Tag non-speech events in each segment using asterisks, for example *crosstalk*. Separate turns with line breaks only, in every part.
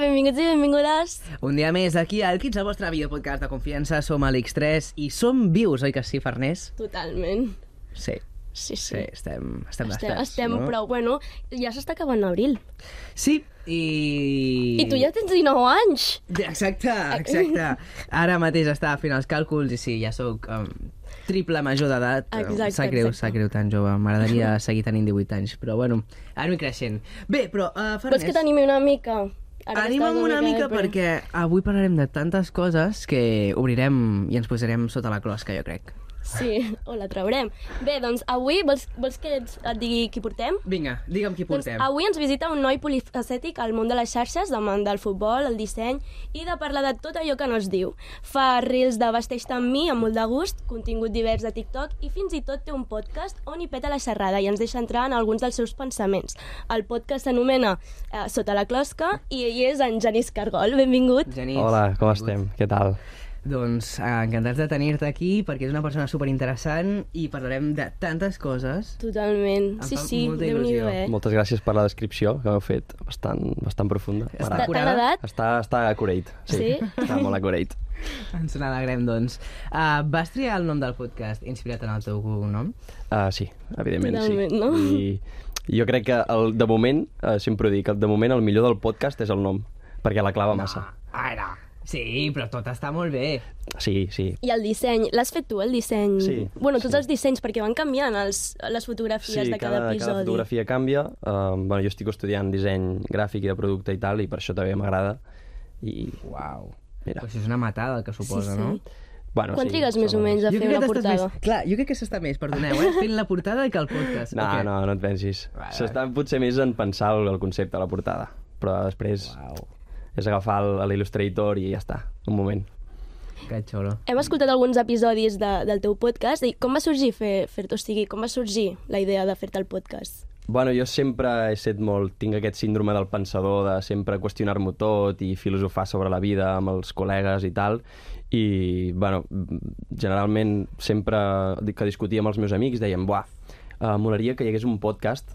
Benvinguts i benvingudes.
Un dia més aquí al Kids, el vostre videopodcast de confiança. Som a l'X3 i som vius, oi que sí, Farners?
Totalment.
Sí.
Sí,
Sí,
sí.
estem, estem
estem,
bastats,
estem
no?
però bueno, ja s'està acabant abril.
Sí, i...
I tu ja tens 19 anys.
Exacte, exacte. Ara mateix està fent els càlculs i sí, ja sóc um, triple major d'edat. Um,
Exacte,
Sap greu,
exacte.
sap greu tan jove.
*laughs*
M'agradaria seguir tenint 18 anys, però bueno, anem creixent. Bé, però, uh,
Però
Farners...
és que t'animi una mica. que
Anima'm
estàs
una mica
deprimit.
perquè avui parlarem de tantes coses que obrirem i ens posarem sota la closca, jo crec.
Sí, *laughs* o la traurem. Bé, doncs avui, vols, vols que et, et digui qui portem?
Vinga, digue'm qui portem.
Doncs avui ens visita un noi polifacètic al món de les xarxes, de món del futbol, el disseny i de parlar de tot allò que no es diu. Fa reels de Vesteix amb mi, amb molt de gust, contingut divers de TikTok i fins i tot té un podcast on hi peta la xerrada i ens deixa entrar en alguns dels seus pensaments. El podcast s'anomena eh, Sota la closca i ell és en Genís Cargol. Benvingut.
Genís.
Hola, com estem? Què tal?
Doncs eh, encantats de tenir-te aquí perquè és una persona superinteressant i parlarem de tantes coses.
Totalment.
Em
sí,
fa
sí,
molta
Déu-n'hi-do,
il·lusió.
eh?
Moltes gràcies per la descripció que m'heu fet, bastant, bastant profunda.
T'ha
M'agrada.
curada?
agradat?
Està, està accurate. Sí?
Sí?
Està molt accurate.
Ens n'alegrem, doncs. Uh, vas triar el nom del podcast inspirat en el teu cognom?
Uh, sí, evidentment,
Totalment,
sí.
no?
I jo crec que, el, de moment, uh, sempre ho dic, el de moment el millor del podcast és el nom, perquè la clava massa.
Ah.
Ara. Sí, però tot està molt bé.
Sí, sí.
I el disseny, l'has fet tu, el disseny?
Sí,
Bueno, tots
sí.
els dissenys, perquè van canviant els, les fotografies
sí,
de cada, episodi.
cada fotografia canvia. Um, bueno, jo estic estudiant disseny gràfic i de producte i tal, i per això també m'agrada. I,
Uau.
mira,
Pues és una matada, el que suposa,
sí.
no?
bueno,
Quan
sí,
trigues més o
segurament.
menys a fer una
t'estàs
portada?
Més... Clar, jo crec que s'està més, perdoneu, eh? Fent la portada que el podcast. o
No,
què?
okay. no, no et pensis.
Vale, vale.
S'està potser més en pensar el, el concepte, la portada. Però després
Uau,
és agafar el- l'Illustrator i ja està, un moment.
que xolo.
Hem escoltat alguns episodis de, del teu podcast i com va sorgir fer- fer-te, fer o sigui, com va sorgir la idea de fer-te el podcast?
Bueno, jo sempre he set molt... Tinc aquest síndrome del pensador, de sempre qüestionar-m'ho tot i filosofar sobre la vida amb els col·legues i tal. I, bueno, generalment sempre que discutia amb els meus amics dèiem, buah, eh, molaria que hi hagués un podcast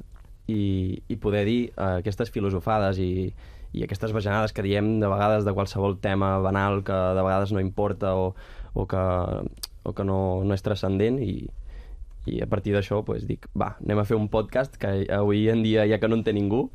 i, i poder dir eh, aquestes filosofades i, i aquestes bajanades que diem de vegades de qualsevol tema banal que de vegades no importa o, o que, o que no, no és transcendent i, i a partir d'això pues, dic, va, anem a fer un podcast que avui en dia, ja que no en té ningú,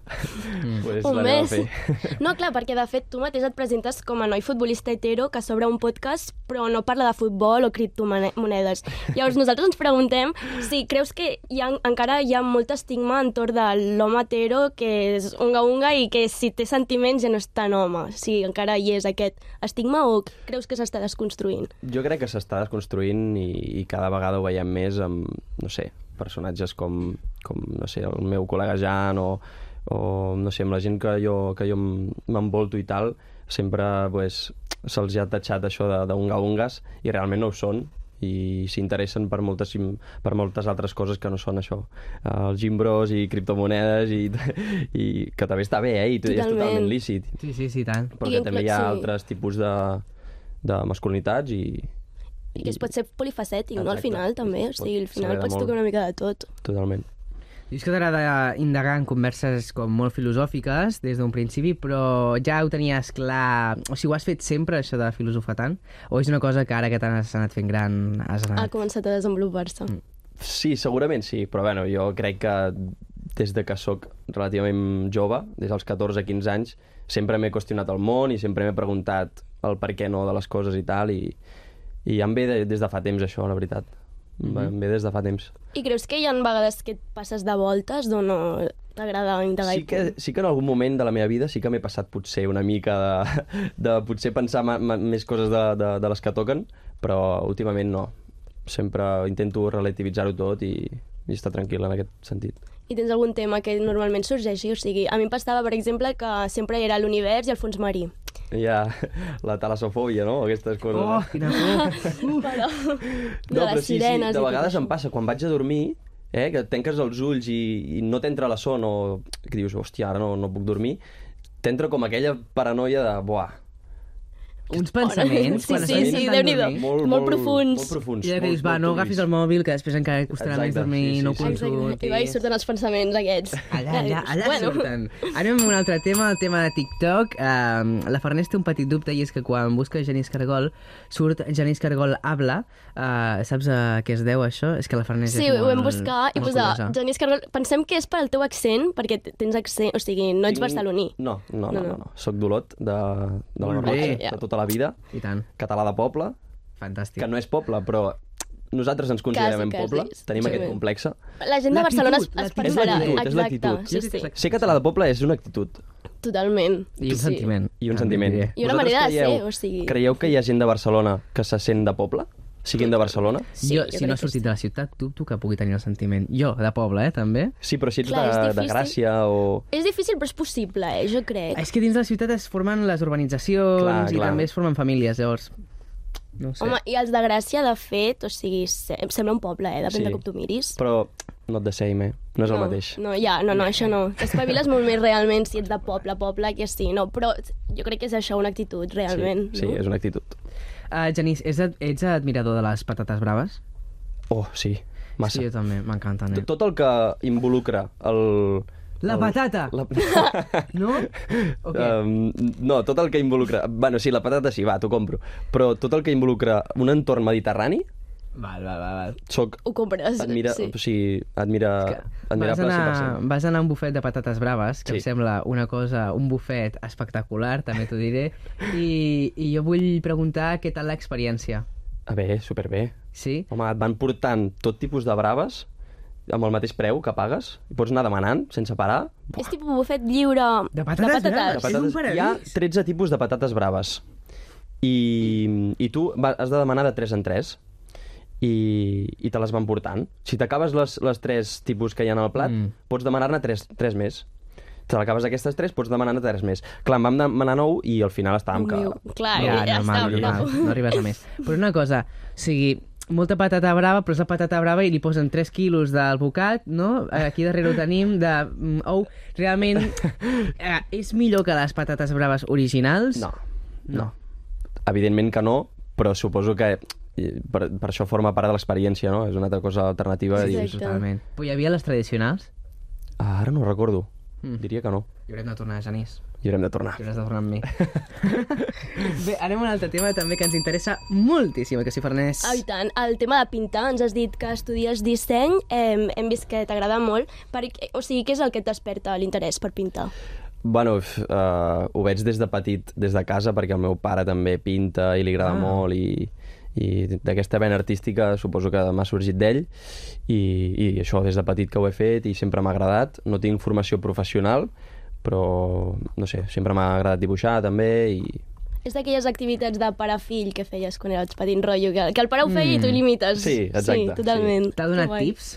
mm. pues, l'anem
*laughs*
a fer.
No, clar, perquè de fet tu mateix et presentes com a noi futbolista hetero que s'obre un podcast però no parla de futbol o criptomonedes. Llavors nosaltres ens preguntem si creus que hi ha, encara hi ha molt estigma entorn de l'home hetero que és unga-unga i que si té sentiments ja no és tan home. Si encara hi és aquest estigma o creus que s'està desconstruint?
Jo crec que s'està desconstruint i, i cada vegada ho veiem més amb, no sé, personatges com, com no sé, el meu col·lega Jan o, o no sé, amb la gent que jo, que jo m- m'envolto i tal, sempre pues, se'ls ha tatxat això de- d'unga-ungas i realment no ho són i s'interessen per moltes, im- per moltes altres coses que no són això. Eh, Els gimbros i criptomonedes i, i *laughs* que també està bé, eh? I tot- és
Totalment.
totalment lícit.
Sí, sí, sí, tant.
Però
I
que
inclou-
també hi ha
sí.
altres tipus de, de masculinitats i,
I que es pot ser polifacètic, no? Al
Exacte.
final, també. O
Pot
sigui, al final
saber de
pots
molt.
tocar una mica de tot.
Totalment.
Dius que t'agrada indagar en converses com molt filosòfiques des d'un principi, però ja ho tenies clar... O sigui, ho has fet sempre, això de filosofar tant? O és una cosa que ara que t'has anat fent gran has
Ha
anat...
començat a desenvolupar-se.
Mm. Sí, segurament sí, però bueno, jo crec que des de que sóc relativament jove, des dels 14-15 anys, sempre m'he qüestionat el món i sempre m'he preguntat el per què no de les coses i tal, i, i em ve de, des de fa temps això, la veritat. Mm -hmm. Em ve des de fa temps.
I creus que hi ha vegades que et passes de voltes d'on no t'agrada indagar
sí
i
que,
punt?
sí que en algun moment de la meva vida sí que m'he passat potser una mica de, de potser pensar ma, ma, més coses de, de, de les que toquen, però últimament no. Sempre intento relativitzar-ho tot i, i estar tranquil en aquest sentit.
I tens algun tema que normalment sorgeixi? O sigui, a mi em passava, per exemple, que sempre era l'univers i el fons
*laughs*
marí.
Hi ha la talassofòbia, no? Aquestes coses.
Oh, quina por!
*laughs* Però... de
no,
les
però sí,
sirenes i
sí, de
tot
vegades
això.
em passa, quan vaig a dormir, eh, que tanques els ulls i, i no t'entra la son o que dius, hòstia, ara no, no puc dormir, t'entra com aquella paranoia de, buah,
uns pensaments...
Sí,
quan
sí,
estàs
sí,
intentant
Déu-n'hi-do.
dormir.
Molt profuns.
Molt profuns.
I ara que dius,
molt-
va,
molt
no agafis
turbis.
el mòbil, que després encara costarà més
Exacte,
dormir,
sí, sí,
no
sí.
consultis...
Exacte. I va, i surten els pensaments aquests.
Allà, allà, allà
*laughs* Bueno.
bueno. surten. Anem amb un altre tema, el tema de TikTok. Um, la Farners té un petit dubte i és que quan busca Genís Cargol, surt Genís Cargol habla. Uh, saps a què es deu això? És que la Farners
Sí,
és molt,
ho vam buscar i
molt
posar
curiosa.
Genís Cargol. Pensem que és per al teu accent, perquè t- tens accent... O sigui, no ets
Tinc-
barceloní.
No, no,
No,
no,
no.
no. no. Soc d'Olot, de, de la
Molt bé.
Garrotxa,
Ja.
de tota la vida.
I tant,
Català de poble,
fantàstic.
que no és poble, però nosaltres ens considerem
Quasi,
poble.
quasi,
Tenim
sí.
aquest complex.
La gent de
L'actitud,
Barcelona es, es
l'actitud.
És
pensarà...
l'actitud, és
Exacte,
l'actitud.
sí,
Jo crec que
sí.
és
Ser català de poble és una actitud
Totalment.
I un
sí.
sentiment.
i un
també
sentiment.
diré.
I una
Vosaltres
manera de
creieu,
ser, o sigui-
Creieu que hi ha gent de Barcelona que se sent de poble? Siguin de Barcelona?
Sí,
jo,
jo
si
crec
no
que
has sortit
sí.
de la ciutat, dubto que pugui tenir el sentiment. Jo, de poble, eh, també.
Sí, però si ets
Clar, és
de, de
difícil.
Gràcia o...
És difícil, però és possible, eh? jo crec.
És que dins de la ciutat es formen les urbanitzacions
Clar,
i
clar.
també es formen famílies, llavors... No ho sé.
Home, i els de Gràcia, de fet, o sigui, se- em sembla un poble, eh? Depèn
Sí.
de com tu miris.
Però not the same, eh? No és
no,
el mateix.
No, ja, no, no, això no. T'espaviles molt més realment si ets de poble, poble, que sí, no. Però jo crec que és això, una actitud, realment.
sí, sí,
no?
és una actitud.
Uh, Genís, ets, ad- ets admirador de les patates braves?
Oh, sí, massa.
Sí, jo també, m'encanten. Eh?
Tot el que involucra el...
La
el-
patata! *laughs*
La... *laughs*
No? O què?
Um, no, tot el que involucra... Bueno, sí, la patata sí, va, t'ho compro. Però tot el que involucra un entorn mediterrani,
Val, val, val. val.
sóc...
Ho compres,
Ah,
Admira...
sí.
O sigui, admira...
Vas
Admirable
anar,
100%.
vas anar a un bufet de patates braves, que em
Sí.
sembla una cosa, un bufet espectacular, també t'ho diré, i, i jo vull preguntar què tal l'experiència.
A Ah, bé, superbé.
Sí?
Home, et van portant tot tipus de braves amb el mateix preu que pagues i pots anar demanant sense parar.
És tipus bufet lliure
De patates
De
braves. És un paradís.
Hi ha 13 tipus de patates braves. I, i tu va- has de demanar de 3 en 3 i, i te les van portant. Si t'acabes les, les 3 tipus que hi ha al plat,
Mm.
mm. pots demanar-ne 3, 3 més. Te l'acabes aquestes 3, pots demanar-ne 3 més. Clar, em vam demanar 9 i al final estàvem que...
Déu, clar,
ja,
ja
normal,
està,
normal,
bravo.
no arribes a més. Però una cosa, o sigui, molta patata brava, però és la patata brava i li posen 3 quilos d'alvocat, no? Aquí darrere ho tenim, de mm, ou.
*laughs*
Realment, eh, és millor que les patates braves originals?
No, no. Evidentment que no, però suposo que eh, per, per això forma part de l'experiència, no? És una altra cosa alternativa.
Sí,
Sí,
Exacte.
dius,
Totalment. Però hi havia les tradicionals?
ah, ara no ho recordo. Mm. Diria que no.
I haurem de tornar, Janís.
I haurem de tornar.
I hauràs de tornar amb mi.
*laughs*
Bé, anem a un altre tema també que ens interessa moltíssim, que si Farnés...
Ah, i tant. El tema de pintar, ens has dit que estudies disseny, eh, hem vist que t'agrada molt. Perquè, o sigui, què és el que et desperta l'interès per pintar?
Bueno, uh, ho veig des de petit, des de casa, perquè el meu pare també pinta i li agrada
Ah.
ah. molt i, i d'aquesta vena artística suposo que m'ha sorgit d'ell i, i això des de petit que ho he fet i sempre m'ha agradat. No tinc formació professional, però no sé, sempre m'ha agradat dibuixar també i
És d'aquelles activitats de pare-fill que feies quan eres petit, rotllo, que, que el pare ho feia mm. i tu l'imites.
Sí, exacte,
Sí, totalment.
T'ha
Que
donat
guai.
tips,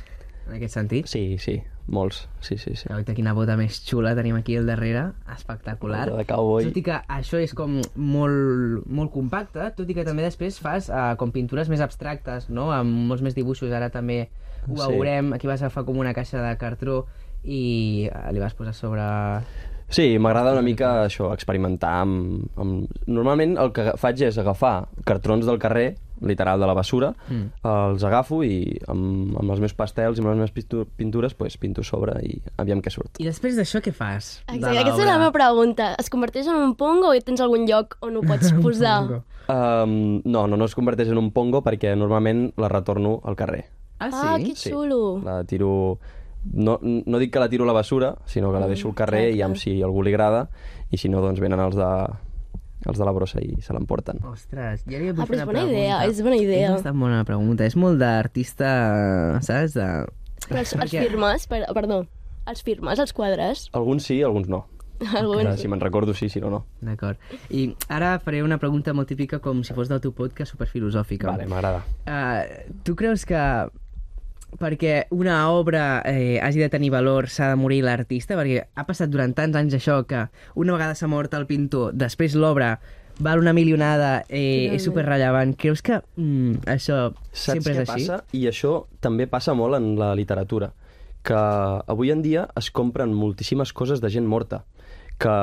en aquest sentit?
sí, sí, molts, sí, sí, sí.
Però Oita, quina boda més xula tenim aquí al darrere, espectacular.
Boda de cowboy.
Tot i que això és com molt, molt compacte, tot i que també després fas uh, com pintures més abstractes, no? amb molts més dibuixos, ara també ho
Sí.
veurem, aquí vas agafar com una caixa de cartró i eh, li vas posar sobre...
Sí, m'agrada una mica això, experimentar amb, amb... Normalment el que faig és agafar cartrons del carrer, literal de la bessura, mm. els agafo i amb, amb els meus pastels i amb les meves pintu- pintures pues, pinto sobre i aviam què surt.
I després d'això què fas? de
Exacte, aquesta és
l'obra?
la meva pregunta. Es converteix en un pongo o tens algun lloc on ho
*laughs*
pots posar?
Um, no, no, no es converteix en un pongo perquè normalment la retorno al carrer.
Ah, sí?
Ah, que xulo.
La tiro... No, no dic que la tiro a la bessura, sinó que la deixo al carrer i am si algú li agrada i si no, doncs venen els de, els de la brossa i se l'emporten.
Ostres, ja li vull
Ah, però
fer
és
una
bona
pregunta.
idea, és bona idea.
És bastant bona pregunta. És molt d'artista, saps? De...
Però els, els
*laughs* Perquè-
firmes, per, perdó, els firmes, els quadres,
Alguns sí, alguns no. Ara,
alguns...
si me'n recordo, sí, si no, no.
D'acord. I ara faré una pregunta molt típica com si fos del teu podcast superfilosòfica.
Vale, m'agrada.
Uh, tu creus que perquè una obra eh, hagi de tenir valor s'ha de morir l'artista? Perquè ha passat durant tants anys això que una vegada s'ha mort el pintor, després l'obra val una milionada, eh, és superrellevant. Creus que mm, això
Saps
sempre
què
és així?
passa? I això també passa molt en la literatura, que avui en dia es compren moltíssimes coses de gent morta, que,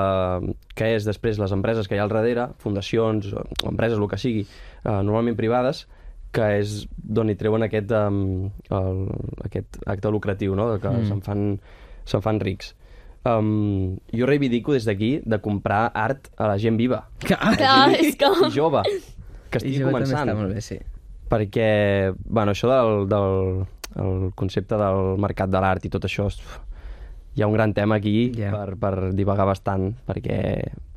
que és després les empreses que hi ha al darrere, fundacions, o empreses, el que sigui, eh, normalment privades, que és d'on hi treuen aquest, um, el, aquest acte lucratiu, no? de que mm. se'n fan, se'n fan rics. Um, jo reivindico des d'aquí de comprar art a la gent viva
Que... ah,
Clar, Ah, és
i
com...
jove, que estigui
I jo també
començant
està molt bé, sí.
perquè, bueno, això del, del el concepte del mercat de l'art i tot això, és- hi ha un gran tema aquí
Ja.
yeah. per, per divagar bastant, perquè,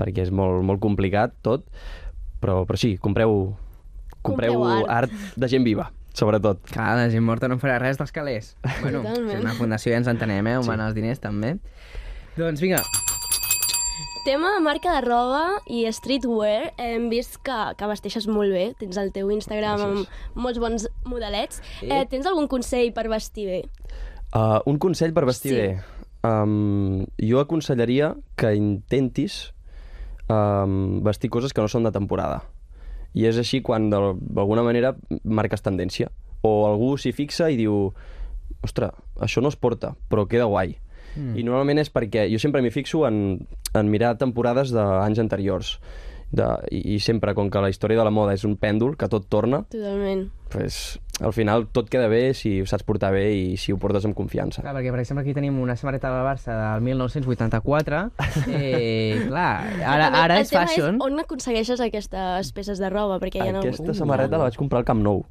perquè és molt, molt complicat tot, però, però sí, compreu, compreu,
Compreu art.
art. de gent viva, sobretot.
Clar, la gent morta no en farà res dels calés. Bueno,
Totalment.
és una fundació ja ens entenem, eh? Humana sí. els diners, també. Doncs vinga,
Tema marca de roba i streetwear. Hem vist que, que vesteixes molt bé. Tens el teu Instagram amb molts bons modelets. Eh, tens algun consell per vestir bé?
Uh, un consell per vestir
Sí.
sí. bé. Um, jo aconsellaria que intentis um, vestir coses que no són de temporada. I és així quan, de- d'alguna manera, marques tendència. O algú s'hi fixa i diu ostres, això no es porta, però queda guai. Mm. I normalment és perquè jo sempre m'hi fixo en, en mirar temporades d'anys anteriors. De, i, I sempre, com que la història de la moda és un pèndol, que tot torna,
Totalment.
pues, al final tot queda bé si ho saps portar bé i si ho portes amb confiança.
clar, perquè per exemple aquí tenim una samarreta del Barça del
*laughs*
1984. Eh, clar, ara,
També el
ara és
tema
fashion.
És on aconsegueixes aquestes peces de roba? Perquè hi ha
Aquesta
algun...
samarreta la vaig comprar al Camp Nou.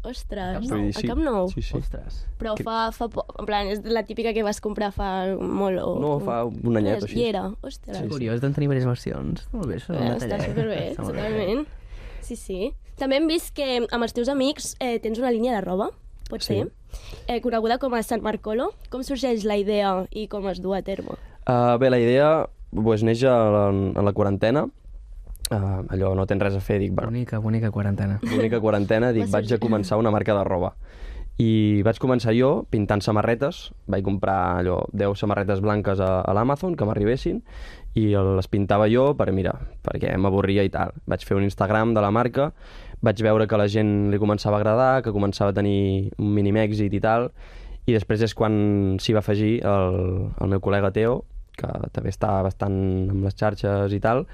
Ostres,
Vull dir,
a Camp Nou.
Sí, sí.
Ostres.
Però fa, fa po... En plan, és la típica que vas comprar fa molt... O...
No, fa un anyet
I
o així.
era, ostres.
Sí, Curiós d'en tenir diverses versions. Molt bé, això.
Eh,
un
està
detallet.
superbé,
Està molt bé.
totalment. Sí, sí. També hem vist que amb els teus amics eh, tens una línia de roba, pot
Sí.
ser, eh, coneguda com a San Marcolo. Com sorgeix la idea i com es du a terme?
Uh, bé, la idea pues, neix a la, a la quarantena. Uh, allò, no tens res a fer, dic, bueno,
Bonica, bonica quarantena.
l'única quarantena, dic,
Va
vaig
sorgir.
a començar una marca de roba. I vaig començar jo pintant samarretes, vaig comprar allò, 10 samarretes blanques a, a l'Amazon que m'arribessin i les pintava jo per mirar, perquè m'avorria i tal. Vaig fer un Instagram de la marca, vaig veure que a la gent li començava a agradar, que començava a tenir un mínim èxit i tal, i després és quan s'hi va afegir el, el meu col·lega Teo, que també està bastant amb les xarxes i tal,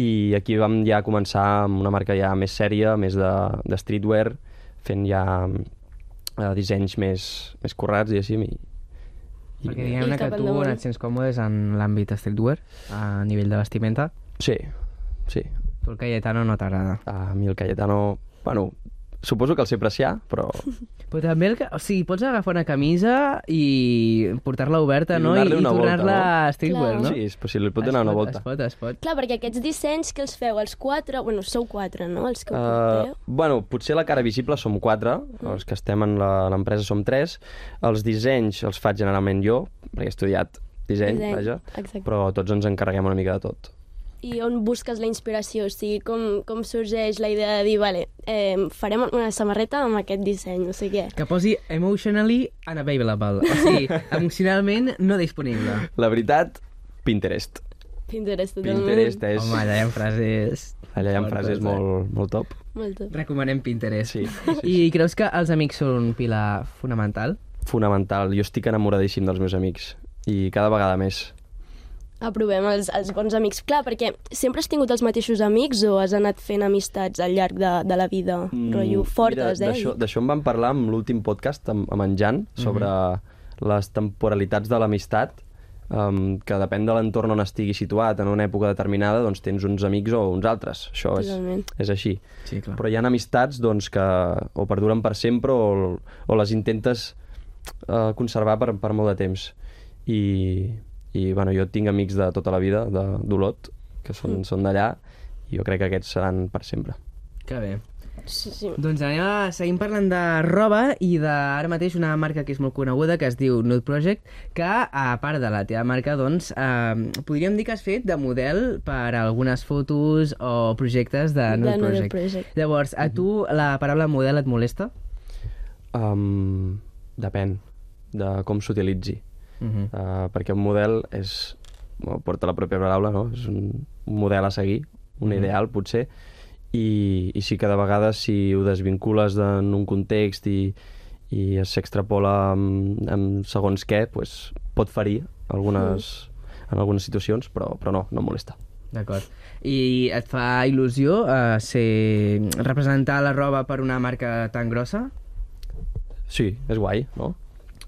i aquí vam ja començar amb una marca ja més sèria, més de, de streetwear, fent ja eh, dissenys més, més currats, diguéssim, i, i
Perquè
*laughs*
diguem-ne
I
que
cap
tu
endavant.
et sents còmodes en l'àmbit streetwear, a nivell de vestimenta.
sí, sí.
Tu el Cayetano no t'agrada.
A mi el Cayetano, bueno, suposo que el sé apreciar,
*laughs*
però
Però també, el que, o sigui, pots agafar una camisa i portar-la oberta,
I
no? I,
donar-li
i
una volta,
tornar-la
no?
a streetwear,
Clar.
no?
sí, és possible, pot donar una volta.
Es pot, es pot.
Clar, perquè aquests dissenys que els feu, els quatre... Bueno, sou quatre, no?, els que ho
Uh,
Ah.
porteu.
bueno, potser la cara visible som quatre,
Mm.
els que estem en la- l'empresa som tres. Els dissenys els faig generalment jo, perquè he estudiat disseny,
Disseny,
vaja,
exacte.
però tots ens encarreguem una mica de tot.
I on busques la inspiració? O sigui, com, com sorgeix la idea de dir, vale, eh, farem una samarreta amb aquest disseny, eh, no sé què.
Que posi emotionally unavailable. O
*laughs*
sigui, emocionalment no disponible.
La veritat, Pinterest.
Pinterest, totalment.
Pinterest és...
Home, allà hi ha frases...
allà hi ha
fortes,
frases
eh?
molt, molt top.
Molt top.
Recomanem Pinterest.
Sí, sí, sí.
I creus que els amics són un pilar fonamental?
Fonamental. Jo estic enamoradíssim dels meus amics. I cada vegada més.
Aprovem els, els bons amics. Clar, perquè sempre has tingut els mateixos amics o has anat fent amistats al llarg de, de la vida? Mm, rotllo fortes,
mira,
eh?
d'això- D'això en vam parlar amb l'últim podcast amb, amb en Jan sobre les temporalitats de l'amistat, um, que depèn de l'entorn on estiguis situat, en una època determinada, doncs tens uns amics o uns altres. Això és,
Totalment.
és així.
Sí, clar.
Però hi ha amistats doncs, que o perduren per sempre o, o les intentes eh, conservar per, per molt de temps. I, i bueno, jo tinc amics de tota la vida, de- d'Olot, que són, són d'allà, i jo crec que aquests seran per sempre.
Que bé.
Sí, sí.
Doncs anem a... seguim parlant de roba i de ara mateix una marca que és molt coneguda que es diu Nude Project, que a part de la teva marca, doncs, eh, podríem dir que has fet de model per a algunes fotos o projectes de
De
Nude
Nude
Project.
Project. Mhm.
Llavors, a tu la paraula model et molesta?
Um, depèn de com s'utilitzi.
Uh -huh.
Uh, perquè un model és... Bueno, porta la pròpia paraula, no? És un, un model a seguir, un
Mm.
ideal, potser, i, i sí que de vegades si ho desvincules en un context i, i s'extrapola amb, amb segons què, pues, pot ferir algunes, en algunes situacions, però, però no, no em molesta.
D'acord. I et fa il·lusió eh, ser... representar la roba per una marca tan grossa?
Sí, és guai, no?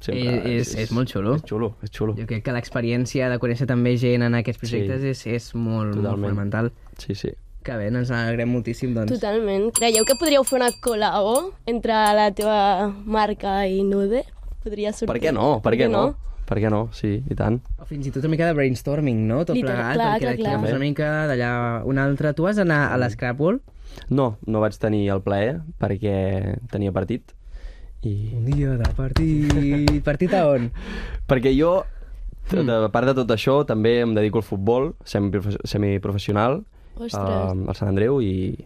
Eh, és- és molt xulo.
És xulo, és xulo.
Jo crec que l'experiència de conèixer també gent en aquests projectes sí. és, és molt, molt
Totalment.
fonamental.
Sí, sí.
Que bé, ens n'alegrem moltíssim, doncs.
Totalment. Creieu que podríeu fer una col·labo entre la teva marca i Nude? Podria sortir.
Per què no? Per què no? Per què no? Sí, i tant.
O fins i tot una mica de brainstorming, no? Tot
Literal,
plegat,
clar,
perquè
clar,
d'aquí
clar.
agafes una mica, d'allà una altra. Tu vas anar a l'Scrapple?
No, no vaig tenir el plaer perquè tenia partit. I...
Un dia de partit... *laughs* partit a on?
Perquè jo, de, de
Hmm.
part de tot això, també em dedico al futbol semiprofe- semiprofessional
Ostres.
Ah,
um, al Sant Andreu i...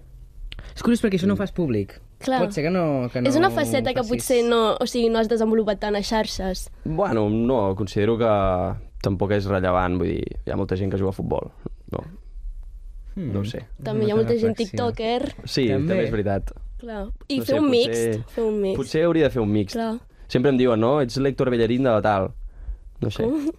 És curiós perquè això no ho fas públic.
Clar.
Pot ser que no... Que no
és una faceta que
ho facis.
potser no, o sigui, no has desenvolupat tant a xarxes.
Bueno, no, considero que tampoc és rellevant, vull dir, hi ha molta gent que juga a futbol. No,
Hmm.
no ho sé.
També hi ha
Una
molta gent
reflexió.
tiktoker.
Sí,
També.
també, també és veritat.
Clar. I
No
fer
sé,
un
potser-
mixt. Fer un mixt.
Potser hauria de fer un mixt.
Clar.
Sempre em diuen, no, ets l'Hector Bellerín de la tal. No sé. Com?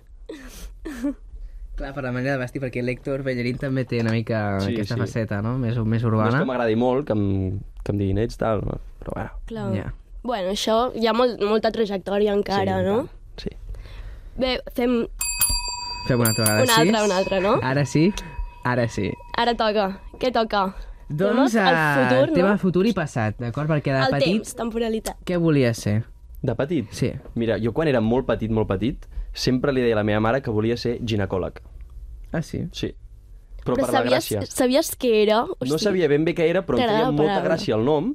Clar, per la manera de vestir, perquè l'Hèctor Bellerín també té una mica sí,
Sí,
aquesta sí.
sí.
faceta, no? Més, més
No és
urbana.
que m'agradi molt que em, que em diguin ets tal, però bueno.
Clar.
Ja.
Bueno, això hi ha molt, molta trajectòria encara,
sí,
no?
Sí.
Bé, fem...
Fem una altra vegada,
Una
sí?
altra, una altra, no?
Ara sí, ara sí.
Ara toca. Què toca?
Doncs
Temes, el
eh,
futur,
tema
no?
futur i passat, d'acord? Perquè de
El
petit,
temps, temporalitat.
què volies ser?
De petit?
Sí.
Mira, jo quan era molt petit, molt petit, sempre li deia a la meva mare que volia ser ginecòleg.
Ah, sí?
Sí. Però, per la
sabies,
gràcia.
sabies què era? Hosti,
No sabia ben bé què era, però em
T'agrada
feia
la
molta
paraula.
gràcia el nom.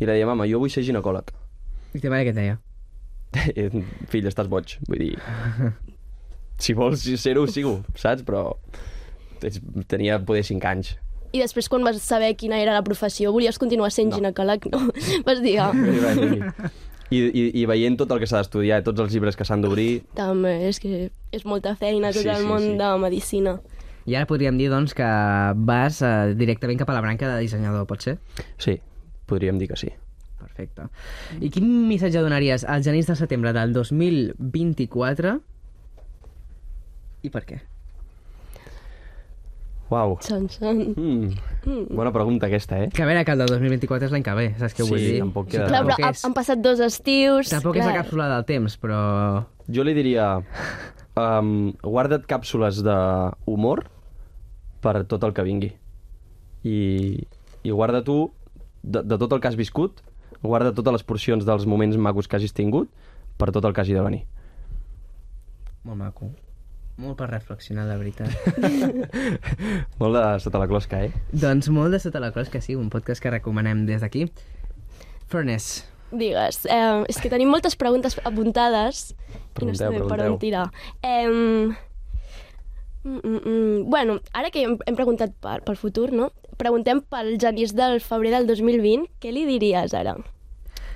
I li deia, mama, jo vull ser ginecòleg. *laughs*
I ta mare què et deia?
Eh, Fill, estàs boig. Vull dir... Si vols ser-ho, sigo, saps? Però tens- tenia poder 5 anys.
I després, quan vas saber quina era la professió, volies continuar sent no. ginecòleg? No. *laughs* Vas dir, ah,
I, va dir- i, i, i veient tot el que s'ha d'estudiar, tots els llibres que s'han d'obrir...
també, és que és molta feina, tot
Sí,
el
sí,
món
sí.
de medicina.
I ara podríem dir, doncs, que vas eh, directament cap a la branca de dissenyador, pot ser?
Sí, podríem dir que sí.
Perfecte. I quin missatge donaries als genís de setembre del 2024? I per què?
Uau.
Son, son.
Mm. Bona pregunta aquesta, eh?
Que a veure, que el del 2024 és l'any que ve, saps què
Sí,
vull dir?
tampoc
Sí,
queda-
Clar, però
tampoc
ha-
és,
han passat dos estius.
tampoc és
clar.
la càpsula del temps, però...
Jo li diria... Um, guarda't càpsules d'humor per tot el que vingui. I, i guarda tu, de, de tot el que has viscut, guarda totes les porcions dels moments macos que hagis tingut per tot el que hagi de venir. *laughs*
Molt maco. Molt per reflexionar, la veritat.
Molt de sota la closca, eh?
Doncs molt de sota la clos, que sí, un podcast que recomanem des d'aquí. Furnace.
Digues, eh, és que tenim moltes preguntes apuntades i no
Pregunteu,
sabem per on
pregunteu.
tirar. Eh, mm, mm, mm, bueno, ara que hem, hem preguntat per, pel futur, no? Preguntem pel Genís del febrer del 2020, què li diries ara?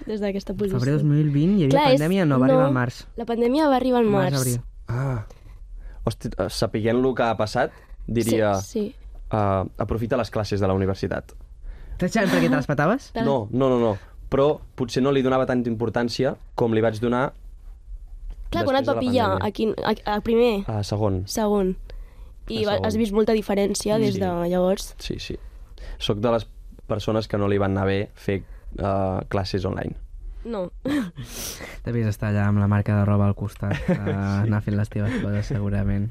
Des d'aquesta posició.
Febrer 2020 hi havia
Clar, és-
pandèmia, no va arribar al març.
La pandèmia va arribar al març.
abril.
Ah. Hosti, eh, sapiguent lo que ha passat, diria...
Sí, sí.
Uh, aprofita les classes de la universitat.
Tachant perquè te les
*laughs*
pataves?
Tal.
No, no, no, no. Però potser no li donava tanta importància com li vaig donar
Clar, quan et va
Després de la
pillar?
pandèmia.
A, quin, a, a primer?
a segon.
Segon. I
A
va-
segon.
has vist molta diferència des
Sí.
de llavors?
Sí, sí. Soc de les persones que no li van anar bé fer uh, classes online.
No.
Devies estar allà amb la marca de roba al
*laughs*
costat, a anar fent les teves coses, segurament.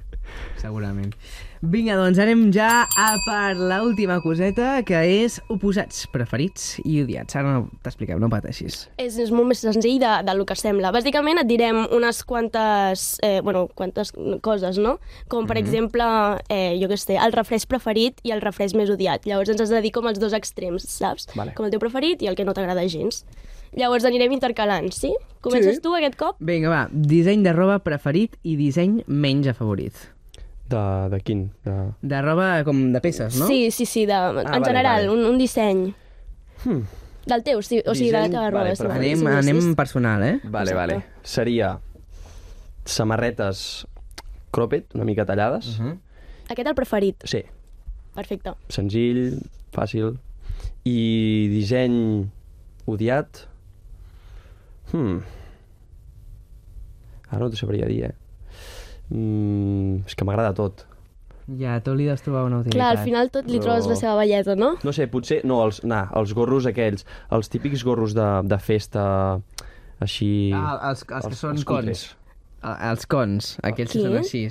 Segurament. Vinga, doncs anem ja a per l'última coseta, que és oposats preferits i odiats. Ara no t'expliqueu, no pateixis.
És, és molt més senzill de, del que sembla. Bàsicament et direm unes quantes, eh, bueno, quantes coses, no? Com, per mm
Mhm.
-hmm. exemple, eh, jo què sé, el refresc preferit i el refresc més odiat. Llavors ens has de dir com els dos extrems, saps?
Vale.
Com el teu preferit i el que no t'agrada gens. Llavors anirem intercalant, sí? Comences
Sí.
tu aquest cop?
Vinga, va, disseny de roba preferit i disseny menys afavorit.
De, de quin? De...
De roba com de peces, no?
Sí, sí, sí, de, ah, en
vale,
general,
vale.
un, un disseny.
Hmm.
Del teu, sí, o sigui, de la
Disseny,
teva roba.
vale,
sí,
però
Anem,
sí, sí, sí.
anem personal, eh?
Vale,
Exacte.
vale. Seria samarretes cropped, una mica tallades. Uh -huh.
Aquest el preferit.
Sí,
Perfecte.
senzill, fàcil. I disseny odiat. Hmm. Ara no t'ho sabria dir, eh? Mm, és que m'agrada tot.
Ja, tot li has trobar una utilitat.
Clar, al final tot li
Però-
trobes la seva bellesa, no?
No sé, potser... No, els, nah, els gorros aquells, els típics gorros de, de festa, així...
Ah, els- els que són
cutres.
Ah, Els cons, aquells que
Qui?
són així.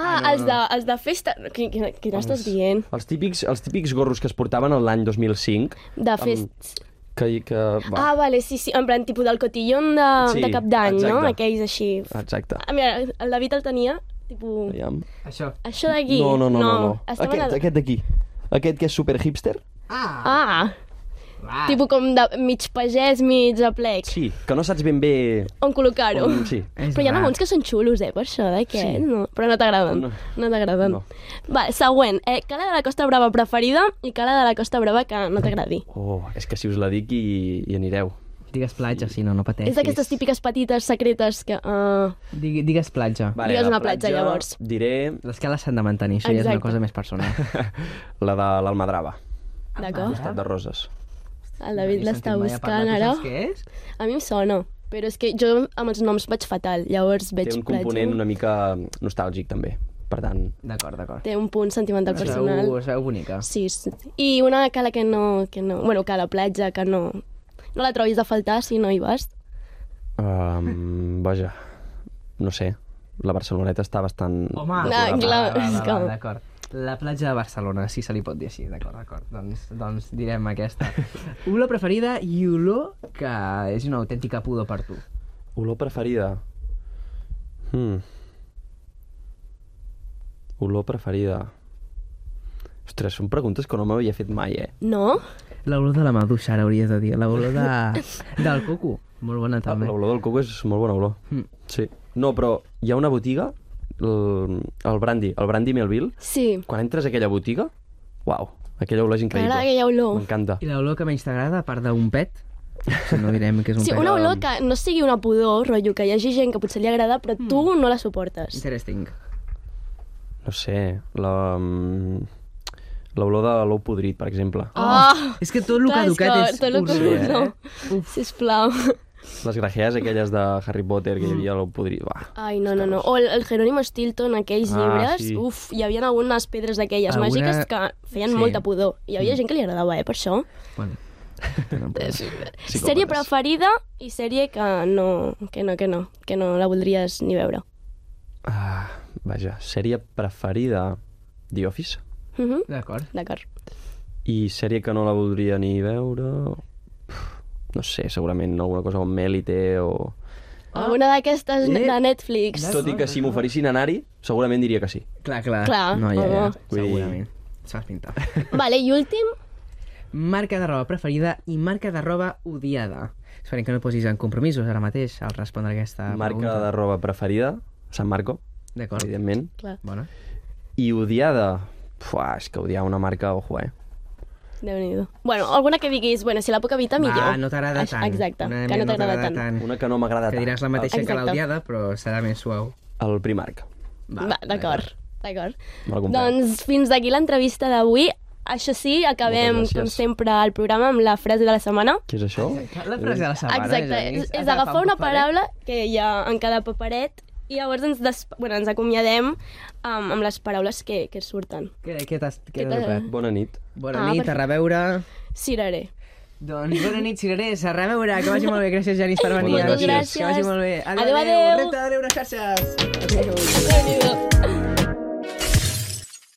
Ah,
no,
els,
no.
de, els de festa... Qui, qui, qui n'estàs dient?
Els típics, els típics gorros que es portaven el l'any 2005,
De festa...
que... que va,
Ah, vale, sí, sí, en plan tipus del cotillon de,
Sí,
de cap d'any, no?
exacte.
Aquells així...
Exacte.
Ah, mira, el David el tenia, tipus...
Aviam.
Això.
Això d'aquí...
No, no, no, no. no.
Estava
Aquest,
en el...
aquest d'aquí. Aquest que és super hipster?
Ah!
Ah,
ah.
tipus com de mig pagès, mig a plec.
Sí, que no saps ben bé...
On col·locar-ho.
On... Sí.
És
Però hi ha
rar.
alguns que són xulos, eh, per això, d'aquest,
Sí.
no? Però no t'agraden, no,
No.
t'agraden.
No.
Va, següent, eh, cara de la Costa Brava preferida i cara de la Costa Brava que no t'agradi.
Oh, és que si us la dic i, i anireu.
Digues platja, si no, no pateixis.
És d'aquestes típiques petites secretes que... Uh,
Digui, digues platja. Va.
Digues
la
una platja, llavors.
Diré *laughs*
Les cales s'han de mantenir, això ja és
Exacte.
una cosa més personal.
la de l'Almadrava,
Ah. D'acord?
Estat de Roses.
*laughs* El David
No he
l'està
sentit mai a
buscant
parlar. Tu
ara.
Saps què és?
A mi em sona, però és que jo amb els noms vaig fatal, llavors veig
Té un
platja.
component una mica nostàlgic, també. Per tant,
D'acord, d'acord.
Té un punt sentimental personal.
Sou, sou bonica.
Sí, sí. I una cala que no, que no... Bueno, que a la platja, que no... No la trobis de faltar si no hi vas. *laughs*
um, vaja, no sé. La Barceloneta està bastant...
No,
decorada.
Ah, clar,
va,
és
va, va,
com-
D'acord. La platja de Barcelona, si se li pot dir així, d'acord, d'acord. Doncs, doncs direm aquesta.
*laughs*
Olor preferida i olor que és una autèntica pudor per tu.
Olor preferida. Hmm. Olor preferida. Ostres, són preguntes que no m'havia fet mai, eh?
No?
L'olor de la maduixa, ara hauries de dir. L'olor de...
*laughs*
del coco. Molt bona, també.
L'olor del coco és molt bona olor.
Mm.
Sí. No, però hi ha una botiga, el, el Brandy, el Brandy Melville.
Sí.
Quan entres a aquella botiga, uau, aquella olor és increïble.
M'agrada aquella olor.
M'encanta.
I l'olor que menys t'agrada, a part d'un pet? Si no direm que és un
Sí,
pet.
una olor que no sigui una pudor, rotllo, que hi hagi gent que potser li agrada, però tu no la suportes.
Interesting.
No sé, la... mm, L'olor de l'ou podrit, per exemple.
Ah!
És que tot el que
Clar,
ha
és
educat
que
és...
tot el que
horrorós,
no.
eh? Uf.
Sisplau.
Les grajees aquelles de Harry Potter que hi havia a l'ou podrit. Bah.
Ai, no, no, no. O el, el Jerónimo Stilton, aquells
Ah,
llibres,
sí.
uf, hi havia algunes pedres d'aquelles
Alguna-
màgiques que feien
Sí. Mm.
molta pudor. Hi havia gent que li agradava, eh, per això. *laughs*
Bueno.
Sèrie preferida i sèrie que no, que no, que no, que no la voldries ni veure.
Ah, vaja, sèrie preferida The Office
Uh -huh.
D'acord.
D'acord.
i sèrie que no la voldria ni veure Uf, no sé, segurament alguna cosa com Melite o...
Ah. Una d'aquestes
Eh.
de Netflix.
Exacte.
Tot i que si m'oferissin anar-hi, segurament diria que sí.
Clar, clar.
Clar,
No, ja, ja.
home.
Vull dir-
Segurament. S'ha pintat.
Vale, i últim,
Marca de roba preferida i marca de roba odiada. Esperem que no et posis en compromisos ara mateix al respondre aquesta
Marca de
Ah, pregunta.
roba preferida, San Marco,
D'acord.
evidentment.
clar,
Bona.
I odiada, Fuà, és que odiar una marca, ojo, eh?
déu nhi Bueno, alguna que diguis, bueno, si la puc evitar, millor.
Va, no t'agrada
Aix-
tant.
Exacte,
Una
que
mira,
no t'agrada tant.
Una que no m'agrada
Que
tant.
diràs la mateixa que
Exacte.
l'odiada, però serà més suau.
El Primark.
Va, d'acord, d'acord.
Me'l compraré.
Doncs fins aquí l'entrevista d'avui. Això sí, acabem,
Moltes gràcies.
com sempre, el programa amb la frase de la setmana.
Què és això?
La frase de la setmana.
Exacte, és, és agafar una paraula que hi ha en cada paperet i llavors ens, des... bueno, ens acomiadem amb, amb les paraules que, que surten.
Què, què t'has què
Què
t'has
t'ha-
educat?
Bona nit.
Bona
Ah,
nit, a
perfecte.
reveure.
Ciraré.
Doncs bona nit, cirerers, a reveure. Que vagi molt bé. Gràcies, Janis, per venir.
Moltes gràcies.
Que vagi molt bé. Adéu,
Adéu,
adéu.
adéu.
Repte de les xarxes.
Déu-n'hi-do.